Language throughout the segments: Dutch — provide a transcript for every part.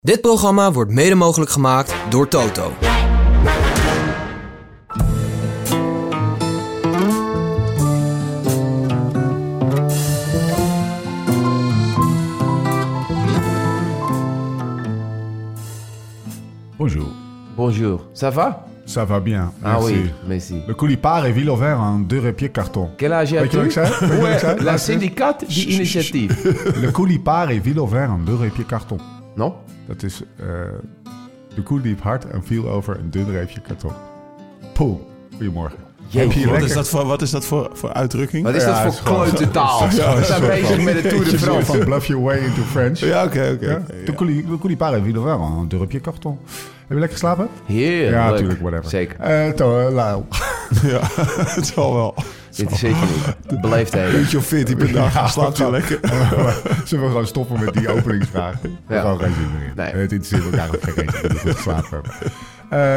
Dit programma wordt mede mogelijk gemaakt door Toto. Bonjour. Bonjour, ça va Ça va bien. Ah merci. oui, merci. Le coulipard est ville ouvert en deux repiers carton. Quel âge Weet je wat as-tu ik zei? Weet je wat ik zei? La Luister. syndicat die initiatief. Le coulipard est ville ouvert en deux repiers carton. Non? Dat is. eh, de koe liep hard en viel over een dun reepje karton. Poeh. Goedemorgen. Heb je Jeetje, Wat lekker- is dat voor, wat is dat voor, voor uitdrukking? Wat is Ja, dat het is voor gewoon- klote taal? het is gewoon We een zijn soort bezig van- met de Tour de Je zegt France. van bluff your way into French. Ja, oké, oké. Ja? oké, ja. De coulis- de coulipard est ville ouvert en deux repiers carton. Heb je lekker geslapen? Heerlijk. ja, natuurlijk, whatever. Zeker. Eh, to, eh, Lau. Ja, het zal wel. Dit is zeker niet. Beleefdheden. Uurtje of veertien per dag, Ja, slaapt u ja. lekker. Zullen we gewoon stoppen met die openingsvraag? We Ja. Gewoon geen zin meer in. Nee. Het interesseert elkaar ook geen reet dat we goed geslapen hebben.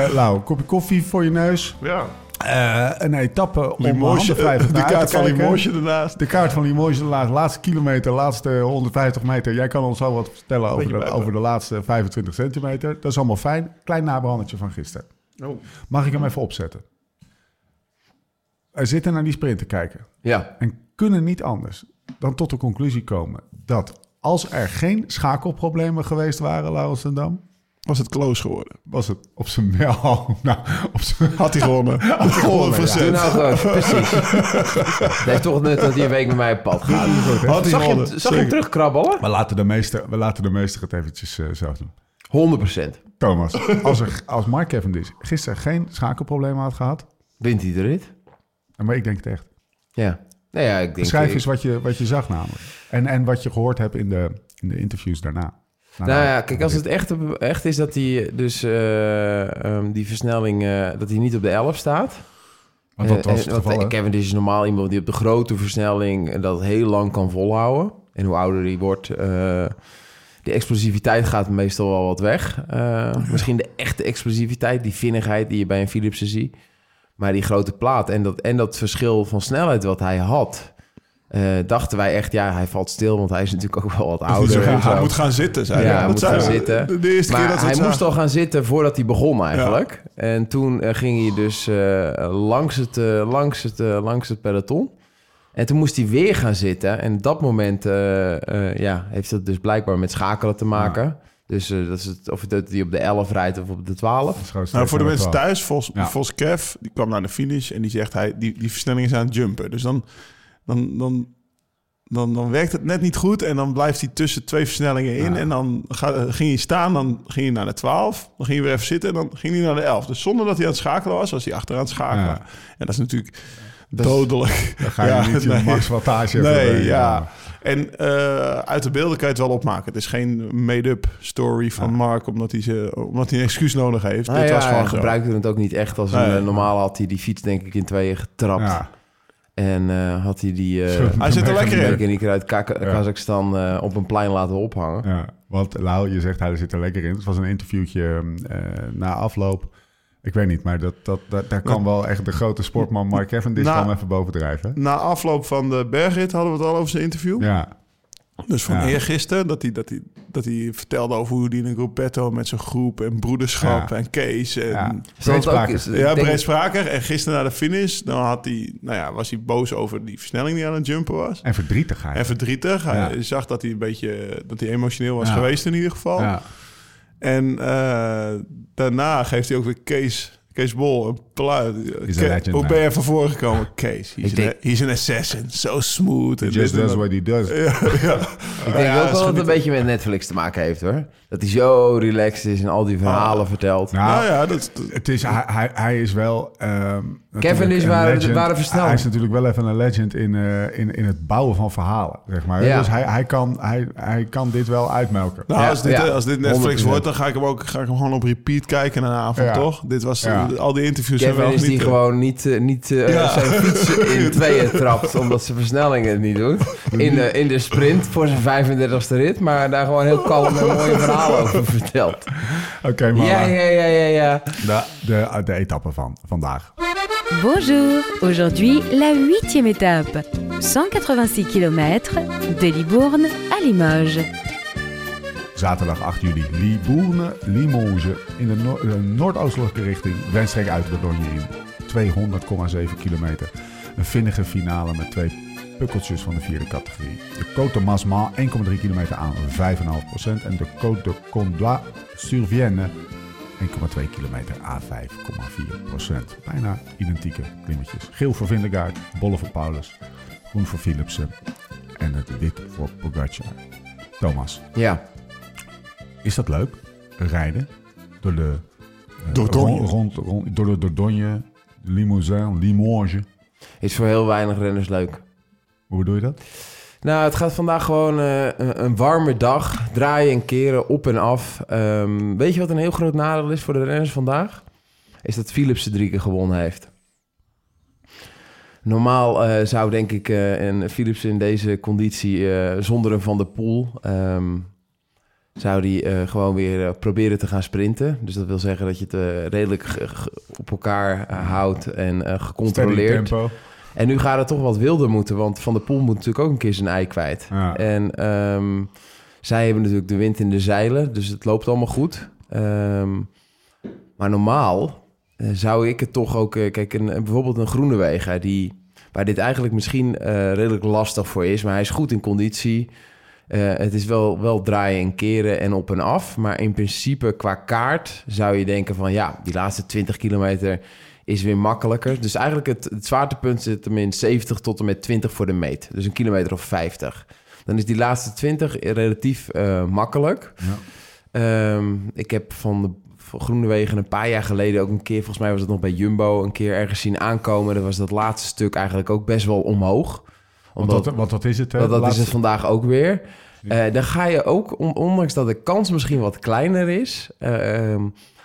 Eh, Lau, kopje koffie voor je neus. Ja. Eh, een etappe om Limoosje, handen vrij eh, naar de uit te kaart van kijken. Limoosje ernaast. De kaart van Limoges, de laatste, laatste kilometer, laatste 150 meter. Jij kan ons al wat vertellen over Beetje de, buiten. over de laatste 25 centimeter. Dat is allemaal fijn. Klein nabrandetje van gisteren. Oh. Mag ik hem even opzetten? We zitten naar die sprint te kijken Ja, en kunnen niet anders dan tot de conclusie komen dat als er geen schakelproblemen geweest waren, Laurens en Dam, Was het close geworden? was het op zijn wel. Nou, op zijn. Had hij gewonnen. Had hij gewonnen, doe 100%. nou gewoon. Precies. Het heeft toch nut dat hij een week met mij op pad gaat. Had Zag je, hij hem- gewonnen. zag je hem Zeker. terugkrabbelen? We laten de meester, we laten de meester het eventjes eh, zelf doen. 100%. Thomas, als, er, als Mark Cavendish gisteren geen schakelproblemen had gehad, Wint hij de rit? maar ik denk het echt. Ja. Nou ja, ik denk... Schrijf eens wat je, wat je zag namelijk. En, en wat je gehoord hebt in de, in de interviews daarna. Na Nou de- ja, kijk, als het echt, op- echt is dat hij dus eh, ehm, die versnelling, eh, dat hij niet op de 11 staat. Want dat was Eh, het eh, want, geval, eh, hè? Cavendish is normaal iemand die op de grote versnelling eh, dat heel lang kan volhouden. En hoe ouder hij wordt, eh, de explosiviteit gaat meestal wel wat weg. Eh, misschien de echte explosiviteit, die vinnigheid die je bij een Philipsen ziet. Maar die grote plaat en dat, en dat verschil van snelheid wat hij had... eh, dachten wij echt, ja, hij valt stil, want hij is natuurlijk ook wel wat Hij moet ouder. en gaan- zo. Hij moet gaan zitten, zei Ja, hij. hij Dat moet zei gaan hij. zitten. De, de eerste Maar keer dat we hij het eh, moest zagen. al gaan zitten voordat hij begon eigenlijk. En toen eh, ging hij dus eh, langs, het, eh, langs, het, eh, langs het peloton. En toen moest hij weer gaan zitten. En op dat moment eh, eh, ja, heeft dat dus blijkbaar met schakelen te maken. Dus eh, dat is het, of dat hij op de 11 rijdt of op de 12. Dat is gewoon Nou, voor de steeds mensen aan het thuis, Vos, Ja. Vos Kev, die kwam naar de finish en die zegt, hij, die, die versnelling is aan het jumpen. Dus dan, dan, dan, dan, dan werkt het net niet goed en dan blijft hij tussen twee versnellingen in. Ja. En dan ga- ging hij staan, dan ging hij naar de 12, dan ging hij weer even zitten en dan ging hij naar de 11. Dus zonder dat hij aan het schakelen was, was hij achteraan aan het schakelen. Ja. En dat is natuurlijk dodelijk. Dan ga je Ja, niet nee. je max wattage Nee, hebben. ja. En eh, uit de beelden kan je het wel opmaken. Het is geen made-up story van Ja. Mark, omdat hij, ze, omdat hij een excuus nodig heeft. Nou Dit ja, was gewoon hij Ah, zo. gebruikte het ook niet echt als een... Nee. eh, normaal had hij die fiets denk ik in tweeën getrapt. Ja. En eh, had hij die... eh, Zo. Hij zit er lekker in. merk in die keer uit Kaka- Ja. Kazachstan eh, op een plein laten ophangen. Ja, want Lau, je zegt hij zit er lekker in. Het was een interviewtje eh, na afloop. Ik weet niet, maar dat, dat, dat, daar kan wel echt de grote sportman Mark Cavendish Nou. kwam even bovendrijven. Na afloop van de bergrit hadden we het al over zijn interview. Ja, Dus van Ja. eergisteren, dat hij, dat, hij, dat hij vertelde over hoe hij in een gruppetto met zijn groep en broederschap Ja. en Kees en... ja. Ja. Zal dat ook- Breedspraker. Ik denk- breedspraker. En gisteren na de finish, dan had hij, nou ja, was hij boos over die versnelling die aan het jumpen was. En verdrietigheid. En verdrietig. Hij Ja. zag dat hij een beetje dat hij emotioneel was Ja. geweest in ieder geval. ja. En eh, daarna geeft hij ook weer Kees, Kees Bol een pluit. He's a Ke- legend, Hoe man. ben je van voren gekomen? Kees, he's, Ik an, denk- he's an assassin. So smooth. en Just dit en does dat. what he does. Nou Ja, Ik denk ook wel dat het een beetje met Netflix te maken heeft hoor. Dat hij zo relaxed is en al die verhalen vertelt. Nou, Nou ja, dat, dat- Het is, hij, hij, hij is wel. ehm, natuurlijk is een waar- legend. waar de versnelling. Hij is natuurlijk wel even een legend in, eh, in, in het bouwen van verhalen. Zeg maar. Ja. Dus hij, hij, kan, hij, hij kan dit wel uitmelken. nou, Ja, als, dit, ja. als dit Netflix 100%. wordt, dan ga ik hem ook ga ik hem gewoon op repeat kijken in de avond, Ja. toch? Dit was eh, Ja. al die interviews hebben Kevin we is die niet. gewoon niet, eh, niet eh, Ja. zijn fiets in tweeën trapt omdat zijn versnellingen het niet doet. In de, in de sprint voor zijn 35e rit, maar daar gewoon heel kalm en mooie verhalen over vertelt. Oké, maar Ja, ja, ja, ja, ja. De, de, de etappe van vandaag. Bonjour, aujourd'hui la huitième étape, 186 km de Libourne à Limoges. Zaterdag 8 juli, Libourne, Limoges. In de, noor- eh, noordoostelijke richting, windstreek uit Dordogne in. 200,7 kilometer. Een vinnige finale met twee pukkeltjes van de vierde categorie. De Côte de Masma, 1,3 kilometer aan, 5,5%. En de Côte de Condla sur Vienne, 1,2 kilometer A5,4 procent. Bijna identieke klimmetjes. Geel voor Vindegaard, bolle voor Paulus, groen voor Philipsen en het wit voor Pogacar. Thomas, Ja. is dat leuk? Rijden door de... eh, Dordogne. Rond, rond, rond- door de Dordogne, Limousin, Limoges. Is voor heel weinig renners leuk. Hoe bedoel je dat? Nou, het gaat vandaag gewoon eh, een, een warme dag. Draaien en keren, op en af. Ehm, weet je wat een heel groot nadeel is voor de renners vandaag? Is dat Philips drie keer gewonnen heeft. Normaal eh, zou denk ik eh, een Philips in deze conditie eh, zonder een Van der Poel... ehm, zou die eh, gewoon weer eh, proberen te gaan sprinten. Dus dat wil zeggen dat je het eh, redelijk ge- ge- op elkaar eh, houdt en eh, Steady gecontroleerd. tempo. En nu gaat het toch wat wilder moeten, want Van der Poel moet natuurlijk ook een keer zijn ei kwijt. Ja. En ehm, zij hebben natuurlijk de wind in de zeilen, dus het loopt allemaal goed. Ehm, maar normaal eh, zou ik het toch ook... eh, kijk, een, een- bijvoorbeeld een Groenewegen, die, waar dit eigenlijk misschien eh, redelijk lastig voor is... maar hij is goed in conditie. Eh, het is wel, wel draaien en keren en op en af. Maar in principe qua kaart zou je denken van... ja, die laatste 20 kilometer is weer makkelijker. Dus eigenlijk het, het zwaartepunt zit hem in 70 tot en met 20 voor de meet. Dus een kilometer of 50. Dan is die laatste 20 relatief eh, makkelijk. Ja. Ehm, ik heb van de van Groenewegen een paar jaar geleden ook een keer... volgens mij was dat nog bij Jumbo, een keer ergens zien aankomen. Dan was dat laatste stuk eigenlijk ook best wel omhoog. Want dat, want dat is het. Hè? Want dat Laatste- is het vandaag ook weer. Eh, dan ga je ook, on- ondanks dat de kans misschien wat kleiner is, eh, ehm,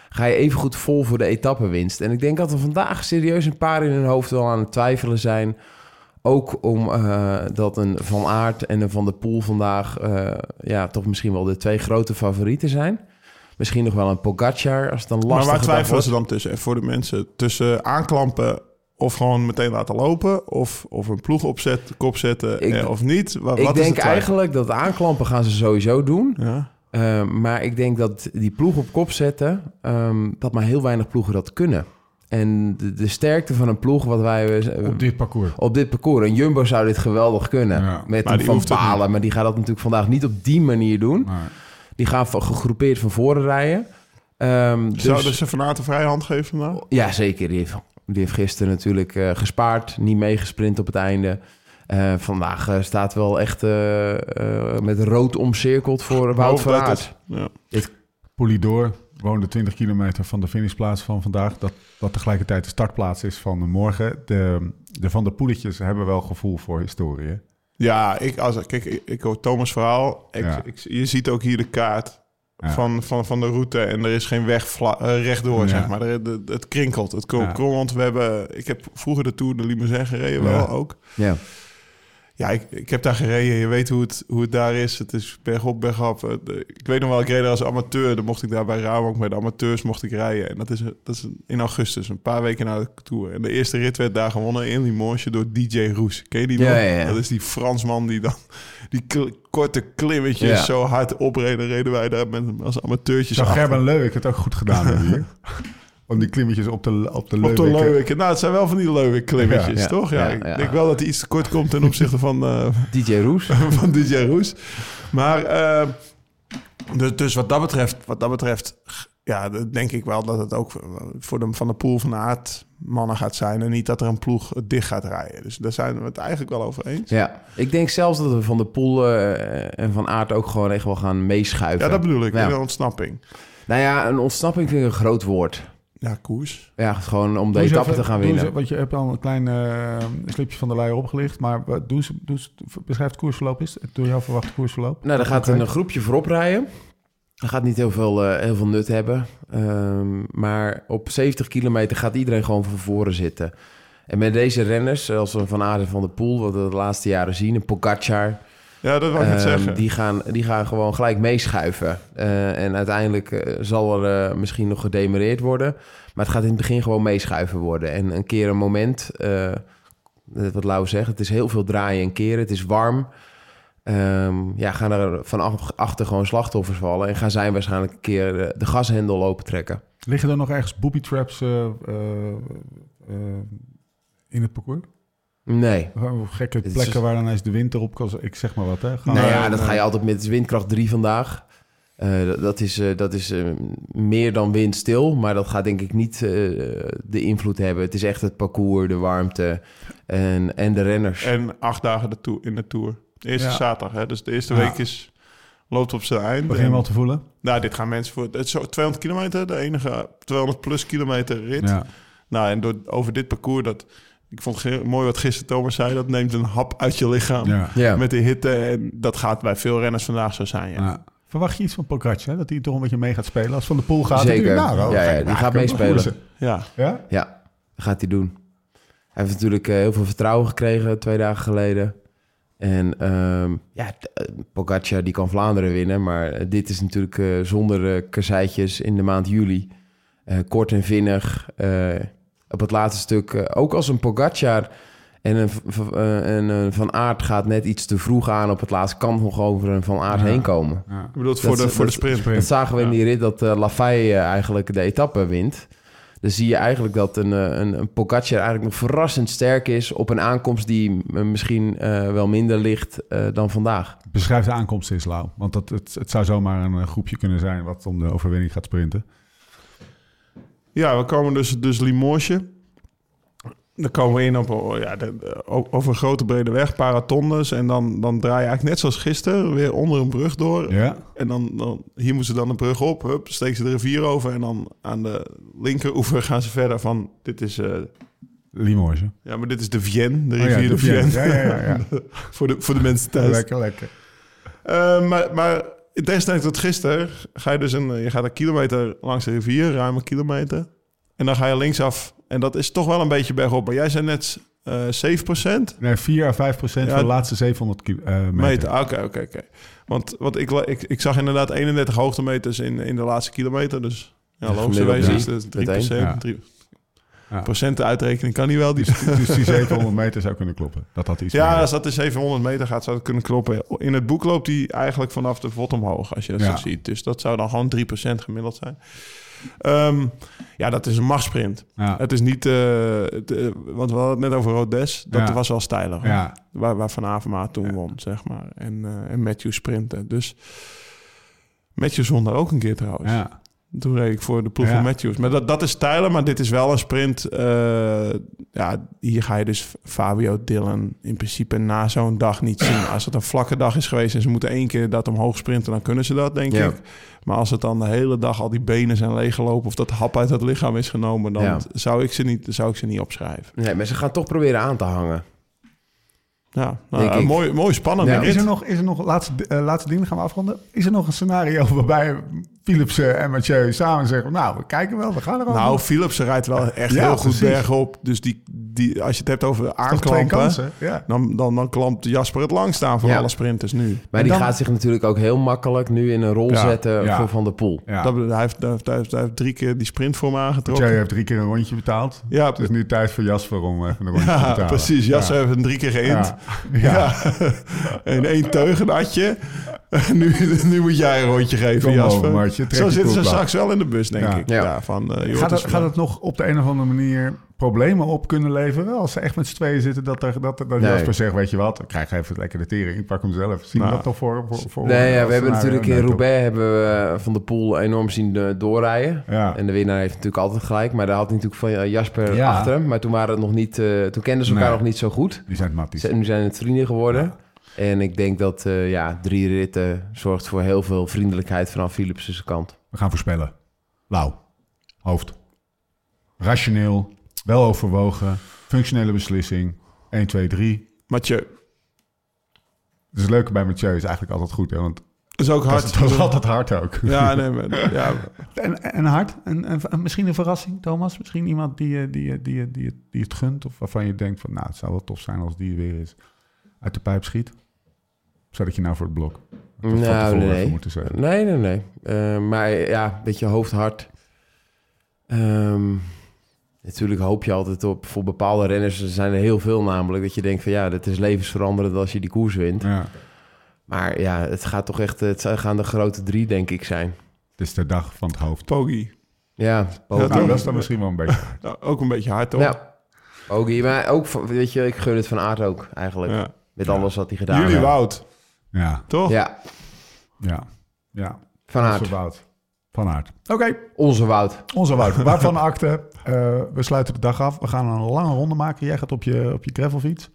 ga je even goed vol voor de etappenwinst. En ik denk dat er vandaag serieus een paar in hun hoofd wel aan het twijfelen zijn. Ook omdat dat een Van Aert en een Van der Poel vandaag eh, ja, toch misschien wel de twee grote favorieten zijn. Misschien nog wel een Pogacar als het dan eh, Maar lastig waar is. twijfelen ze dan tussen? En voor de mensen tussen aanklampen of gewoon meteen laten lopen? Of, of een ploeg opzet, kop zetten Ik- eh, of niet? Wa- Wat, Ik is de denk twijfel? eigenlijk dat aanklampen gaan ze sowieso doen. Ja. Eh, maar ik denk dat die ploeg op kop zetten, ehm, dat maar heel weinig ploegen dat kunnen. En de, de sterkte van een ploeg, wat wij eh, Op op, dit parcours. dit parcours, en Jumbo zou dit geweldig kunnen. Ja, met maar een die Van hoeft het Palen, maar die gaat dat natuurlijk vandaag niet op die manier doen. Maar, Die gaan van- gegroepeerd van voren rijden. Ehm, dus, Zouden ze Van Aert een vrije hand geven vandaag? Ja, zeker. Die heeft, die heeft gisteren natuurlijk eh, gespaard, niet meegesprint op het einde. Eh, vandaag eh, staat wel echt eh, eh, met rood omcirkeld voor Wout van Hoofdletters. Aert. Ja. Polydor woonde 20 kilometer van de finishplaats van vandaag. Dat, dat tegelijkertijd de startplaats is van morgen. De, de Van der Poeletjes hebben wel gevoel voor historie. hè? Ja, ik, als, kijk, ik, ik hoor Thomas' verhaal. Ik, Ja. ik, je ziet ook hier de kaart Ja. van, van, van de route. En er is geen weg vla, eh, rechtdoor, Ja. zeg maar. Er- de- het krinkelt, het Ja. krommelt. We hebben, ik heb vroeger de Tour de Limousin gereden, Ja. wel ook. Ja. Ja, ik, ik heb daar gereden. Je weet hoe het, hoe het daar is. Het is bergop, bergaf. Eh, de- Ik weet nog wel, ik reed daar als amateur. Dan mocht ik daar bij Rabank met de amateurs mocht ik rijden. En dat is, dat is in augustus, een paar weken na de Tour. En de eerste rit werd daar gewonnen in Limoges door DJ Roes. Ken je die Ja, nog? ja, ja. Dat is die Fransman die dan die kl- korte klimmetjes Ja. zo hard opreden. Reden wij daar met, hem als amateurtjes Zou achter. Gerben Leuwik het ook goed gedaan hebben hier? Om die klimmetjes op de, op de Op de Leuwikken. Leuwikken. Nou, het zijn wel van die Leuwik-klimmetjes, Ja, ja, toch? Ja, ja, ik ja. denk wel dat hij iets tekort komt ten opzichte van... eh, DJ Roes. van DJ Roes. Maar eh, dus, dus wat dat betreft, wat dat betreft, g- ja, dat denk ik wel dat het ook voor de van de pool van de aard mannen gaat zijn en niet dat er een ploeg het dicht gaat rijden. Dus daar zijn we het eigenlijk wel over eens. Ja, ik denk zelfs dat we van de Poel eh, en van Aert ook gewoon echt wel gaan meeschuiven. Ja, dat bedoel ik. Ja. Een ontsnapping. Nou ja, een ontsnapping vind ik een groot woord. Ja, koers. Ja, gewoon om de Doe eens etappe even- te gaan doe eens even- winnen. want je hebt al een klein eh, slipje van de leier opgelicht. Maar wat- doe eens, doe eens, beschrijf het koersverloop eens. Het Door jou verwacht koersverloop. Nou, dan gaat Oké. een groepje voorop rijden. Dat gaat niet heel veel, eh, heel veel nut hebben. Ehm, maar op 70 kilometer gaat iedereen gewoon van voren zitten. En met deze renners, zoals een Van Aert en Van der Poel... wat we de laatste jaren zien, een Pogacar... Ja, dat wil ik net Ehm, zeggen. die, gaan, die gaan gewoon gelijk meeschuiven. Eh, en uiteindelijk eh, zal er eh, misschien nog gedemereerd worden. Maar het gaat in het begin gewoon meeschuiven worden. En een keer een moment, eh, net wat Lau zegt, het is heel veel draaien en keren. Het is warm. Ehm, ja, gaan er vanaf achter gewoon slachtoffers vallen. En gaan zij waarschijnlijk een keer de, de gashendel open trekken. Liggen er nog ergens booby traps eh, eh, eh, in het parcours? Nee. Gewoon Gekke is- dus- plekken waar dan eens de winter op kan... Ik zeg maar wat, hè? Gaan nou we- ja, dat ga je altijd met windkracht 3 vandaag. Eh, dat- dat is, eh, dat is eh, meer dan windstil, maar dat gaat denk ik niet eh, de invloed hebben. Het is echt het parcours, de warmte en, en de renners. En acht dagen de tour, in de Tour. De eerste Ja. zaterdag, hè? dus de eerste Ja. week is, loopt op zijn eind. Begin En- wel te voelen. Nou, dit gaan mensen voor... Het is zo 200 kilometer, de enige 200 plus kilometer rit. Ja. Nou, en door, over dit parcours, dat, ik vond het ge- mooi wat gisteren Thomas zei... dat neemt een hap uit je lichaam Ja. ja. met de hitte. En dat gaat bij veel renners vandaag zo zijn, ja. Ja. Verwacht je iets van Pogacar, hè? Dat hij toch een beetje mee gaat spelen? Als Van de Poel gaat, Zeker. natuurlijk naar, hoor. Ja, ja, Kijk, die nou, gaat ik heb nog meespelen. goede ja. zin. Ja? Ja, dat gaat hij doen. Hij heeft natuurlijk eh, heel veel vertrouwen gekregen twee dagen geleden. En ehm ja, t- eh, Pogacar die kan Vlaanderen winnen. Maar eh, dit is natuurlijk eh, zonder eh, kasseitjes in de maand juli. Eh, kort en vinnig. eh, op het laatste stuk, eh, ook als een Pogacar en een, V- V- eh, en een Van Aert gaat net iets te vroeg aan op het laatste... kan nog over een Van Aert Ja. heen komen. Ja. Ik bedoel, het voor, Dat de, is- voor de dat- sprint. Sprint. Dat zagen we in Ja. die rit dat eh Lafay eh, eigenlijk de etappe wint. Dan zie je eigenlijk dat een, eh, een, een Pogacar eigenlijk nog verrassend sterk is... op een aankomst die eh, misschien eh, wel minder ligt eh, dan vandaag. Beschrijf de aankomst eens, Lau. Want dat, het, het zou zomaar een eh, groepje kunnen zijn wat om de overwinning gaat sprinten. Ja, we komen dus, dus Limoges. Dan komen we in op oh, ja, de- de- o- over een grote brede weg, paratondes. En dan, dan draai je eigenlijk net zoals gisteren weer onder een brug door. Ja? En dan, dan hier moeten ze dan een brug op. Hup, steken ze de rivier over. En dan aan de linkeroever gaan ze verder van... Dit is, eh, Limoges. hè? ja, maar dit is de Vienne, de Oh ja, rivier de, de Vienne. Vienne. Ja, ja, ja, voor, de, voor de mensen thuis. Lekker, lekker. Eh, maar, maar in tegenstelling tot gisteren ga je dus een, je gaat een kilometer langs de rivier, ruim een kilometer. En dan ga je linksaf. En dat is toch wel een beetje bergop. Maar jij zei net eh 7%. Nee, 4 à 5 procent Ja, van de laatste 700 ki- eh, meter. Meter. Ah, Oké, oké, oké. Want, want ik, la- ik, ik zag inderdaad 31 hoogtemeters in, in de laatste kilometer. Dus ja, Ja, logischerwijs is gemiddeld het 3%. drie. Ja. 3 Ja. Procenten uitrekening kan niet wel. Die, Dus, dus die 700 meter zou kunnen kloppen. Dat had iets ja, meer. als dat de 700 meter gaat, zou dat kunnen kloppen. In het boek loopt die eigenlijk vanaf de vod omhoog, als je dat Ja. zo ziet. Dus dat zou dan gewoon 3% gemiddeld zijn. Ehm, ja, dat is een machtsprint. Ja. Het is niet... eh, het, eh, want we hadden het net over Rodes. Dat Ja. was wel stijler. hoor. Ja. Waar, waar Van Avermaat toen Ja. won, zeg maar. En, eh, en Matthew sprintte. Dus Matthews won daar ook een keer trouwens. Ja. Toen reed ik voor de ploeg Ja. van Matthews. Maar dat, dat is stijler, maar dit is wel een sprint. eh, ja, hier ga je dus Fabio Dillon in principe na zo'n dag niet zien. Als het een vlakke dag is geweest en ze moeten één keer dat omhoog sprinten, dan kunnen ze dat, denk Ja. ik. Maar als het dan de hele dag al die benen zijn leeggelopen of dat hap uit het lichaam is genomen, dan Ja. zou, ik ze niet, zou ik ze niet opschrijven. Nee, maar ze gaan toch proberen aan te hangen. Ja, nou, Denk een ik. mooi, mooi spannend. Ja. Ja. Is er nog, is er nog laatste, eh, laatste ding, gaan we afronden. Is er nog een scenario waarbij Philipsen en Mathieu samen zeggen... nou, we kijken wel, we gaan er wel. Nou, Philips rijdt wel echt Ja, heel goed precies. bergop. Dus die, die, als je het hebt over nog twee aanklampen, kansen. Ja. dan, dan, dan klampt Jasper het langst aan voor Ja. alle sprinters nu. Maar En die dan- gaat zich natuurlijk ook heel makkelijk nu in een rol Ja, zetten ja. voor Van der Poel. Ja. Dat, hij, heeft, hij, heeft, hij heeft- hij heeft drie keer die sprintvorm aangetrokken. Mathieu heeft drie keer een rondje betaald. Ja, Het is nu tijd voor Jasper om eh, even een rondje te ja, betalen. precies. Jasser Ja. heeft hem drie keer geïnd. Ja. Ja. Ja. In één teug een atje. nu, nu moet jij een rondje geven, Kom Jasper. over, maatje. Trek Zo die zitten ze koelkast. straks wel in de bus, denk Ja. ik. Ja. Ja. van, eh, joh, Gaat, het het, is- gaat het nog op de een of andere manier problemen op kunnen leveren? Als ze echt met z'n tweeën zitten, dat, er, dat, dat Nee. Jasper zegt... weet je wat, ik krijg even lekker de tering, ik pak hem zelf. Zien we Nou. dat toch voor? voor, voor Nee, ja, als we hebben scenario? natuurlijk eh, in Nee, toch? Roubaix hebben we eh, Van der Poel enorm zien eh, doorrijden. Ja. En de winnaar heeft natuurlijk altijd gelijk. Maar daar had hij natuurlijk van eh, Jasper Ja. achter hem. Maar toen, waren het nog niet, eh, toen kenden ze elkaar Nee. nog niet zo goed. Die zijn het matties. Ze- Nu zijn het vrienden geworden. En ik denk dat eh, ja, drie ritten zorgt voor heel veel vriendelijkheid vanaf Philips' kant. We gaan voorspellen. Lauw. Hoofd. Rationeel. Wel overwogen. Functionele beslissing. 1, 2, 3. Mathieu, Dus het leuke bij Mathieu is eigenlijk altijd goed, hè? Want dat is ook dat hard. is, dat is altijd hard ook. Ja, nee, maar, ja, En, en hard? En, en, en misschien een verrassing, Thomas? Misschien iemand die, je- die, je- die, je- die, je- die het gunt? Of waarvan je denkt van, nou, het zou wel tof zijn als die weer eens uit de pijp schiet? Zodat je nou voor het blok. Dat had ik van Nou, tevoren nee. even moeten zeggen. Nee, nee, nee. Eh, maar ja, een beetje hoofd hard. Ehm, natuurlijk hoop je altijd op, voor bepaalde renners, er zijn er heel veel namelijk, dat je denkt van ja, dit is levensveranderend als je die koers wint. Ja. Maar ja, het gaat toch echt, het gaan de grote drie, denk ik, zijn. Het is de dag van het hoofd. Poggi. Ja, Nou, toch? dat is dan misschien wel een beetje. Nou, ook een beetje hard, toch? Ja, Ogie, maar ook, van- weet je, ik gun het van aard ook eigenlijk. Ja. Met Ja. alles wat hij gedaan Jullie heeft. Wout, Ja, toch? Ja, ja, ja. van Onze aard. Wout. Van Aert. Oké, Onze Wout. onze Wout. Waarvan akte. eh, we sluiten de dag af. We gaan een lange ronde maken. Jij gaat op je, op je gravelfiets.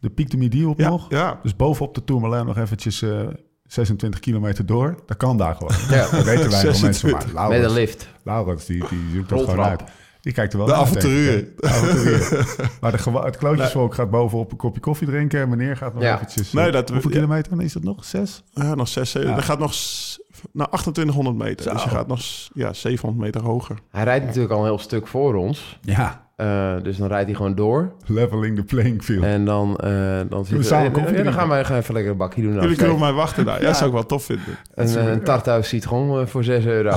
De Piek de Midi op Ja, nog. ja. Dus bovenop de Tourmalet nog eventjes eh, 26 kilometer door. Dat kan daar gewoon. Ja, Dat weten wij nog mensen. Maar met een Laurens, lift. Laurens die, die zoekt dat gewoon uit. Roltrap. Die kijkt er wel De naar, avonturier. denk ik, hè. De avonturier. maar de gewa- het klootjesvolk gaat bovenop een kopje koffie drinken. En meneer gaat nog Ja. eventjes... eh, Nee, dat- hoeveel ja. kilometer is dat nog? Zes? Ja, nog 6, 7. Ja. Dat gaat nog s- naar 2800 meter. Dus je gaat nog s- ja, 700 meter hoger. Hij rijdt natuurlijk al een heel stuk voor ons. Ja, Eh, dus dan rijdt hij gewoon door. leveling the playing field. En dan, eh dan, zitten samen en- koffie en dan drinken? gaan wij gaan even lekker een bakje doen. Jullie kunnen afsteken. op mij wachten daar. Ja, dat zou ik wel tof vinden. Een, eh, een tarthuis ziet gewoon eh, voor 6 euro.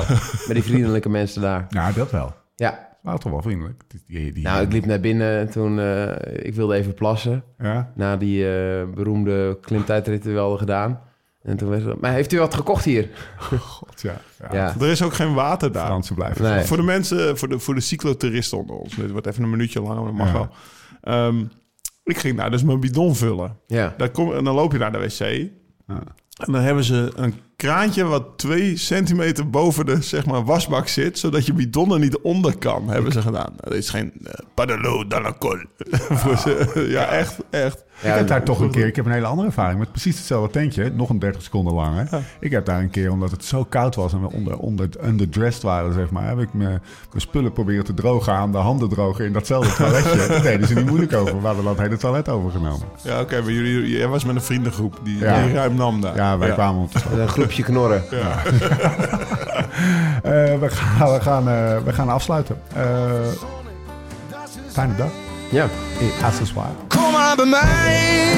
met die vriendelijke mensen daar. Nou, dat wel. Ja, Maar toch wel vriendelijk. Die, die, die- nou, ik liep naar binnen en toen... eh, ik wilde even plassen. Ja? Na die eh, beroemde klimtijdrit die we hadden gedaan. En toen werd het... Maar heeft u wat gekocht hier? God, ja. ja. Ja. Er is ook geen water daar. Fransen blijven. Nee. Voor de mensen, voor de, voor de cyclotoeristen onder ons. Dit wordt even een minuutje langer, maar dat mag Ja. wel. Ehm, ik ging daar dus mijn bidon vullen. Ja. Daar kom, en dan loop je naar de wc. Ja. En dan hebben ze een kraantje wat twee centimeter boven de zeg maar, wasbak zit... zodat je bidon er niet onder kan, hebben ze gedaan. Dat is geen uh, padelo d'alcool. Voor ze- Ah. ja, echt, echt. Ja, ik heb daar toch een keer, ik heb een hele andere ervaring met precies hetzelfde tentje, nog een 30 seconden langer. Ik heb daar een keer, omdat het zo koud was en we onder, onder, underdressed waren, zeg maar, heb ik me- mijn spullen proberen te drogen aan de handen drogen in datzelfde toiletje. Daar deden ze niet moeilijk over, we hadden dat hele toilet overgenomen. Ja, oké, maar jullie, jij was met een vriendengroep die, Ja. die ruim nam daar. Ja, wij kwamen op de Een groepje knorren. Eh, we, gaan, we, gaan, eh, we gaan afsluiten. Eh, fijne dag. Ja. Accessoire. Kom maar bij mij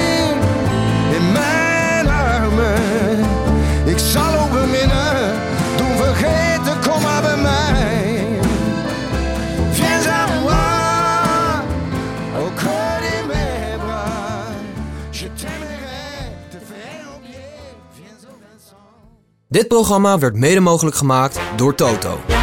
in mijn armen. Ik zal ook beminnen, doen vergeten, kom maar bij mij. Viens à moi, au cœur de mes bras. Je t'aimerai, te faire oublier, viens au Vincent. Dit programma werd mede mogelijk gemaakt door Toto.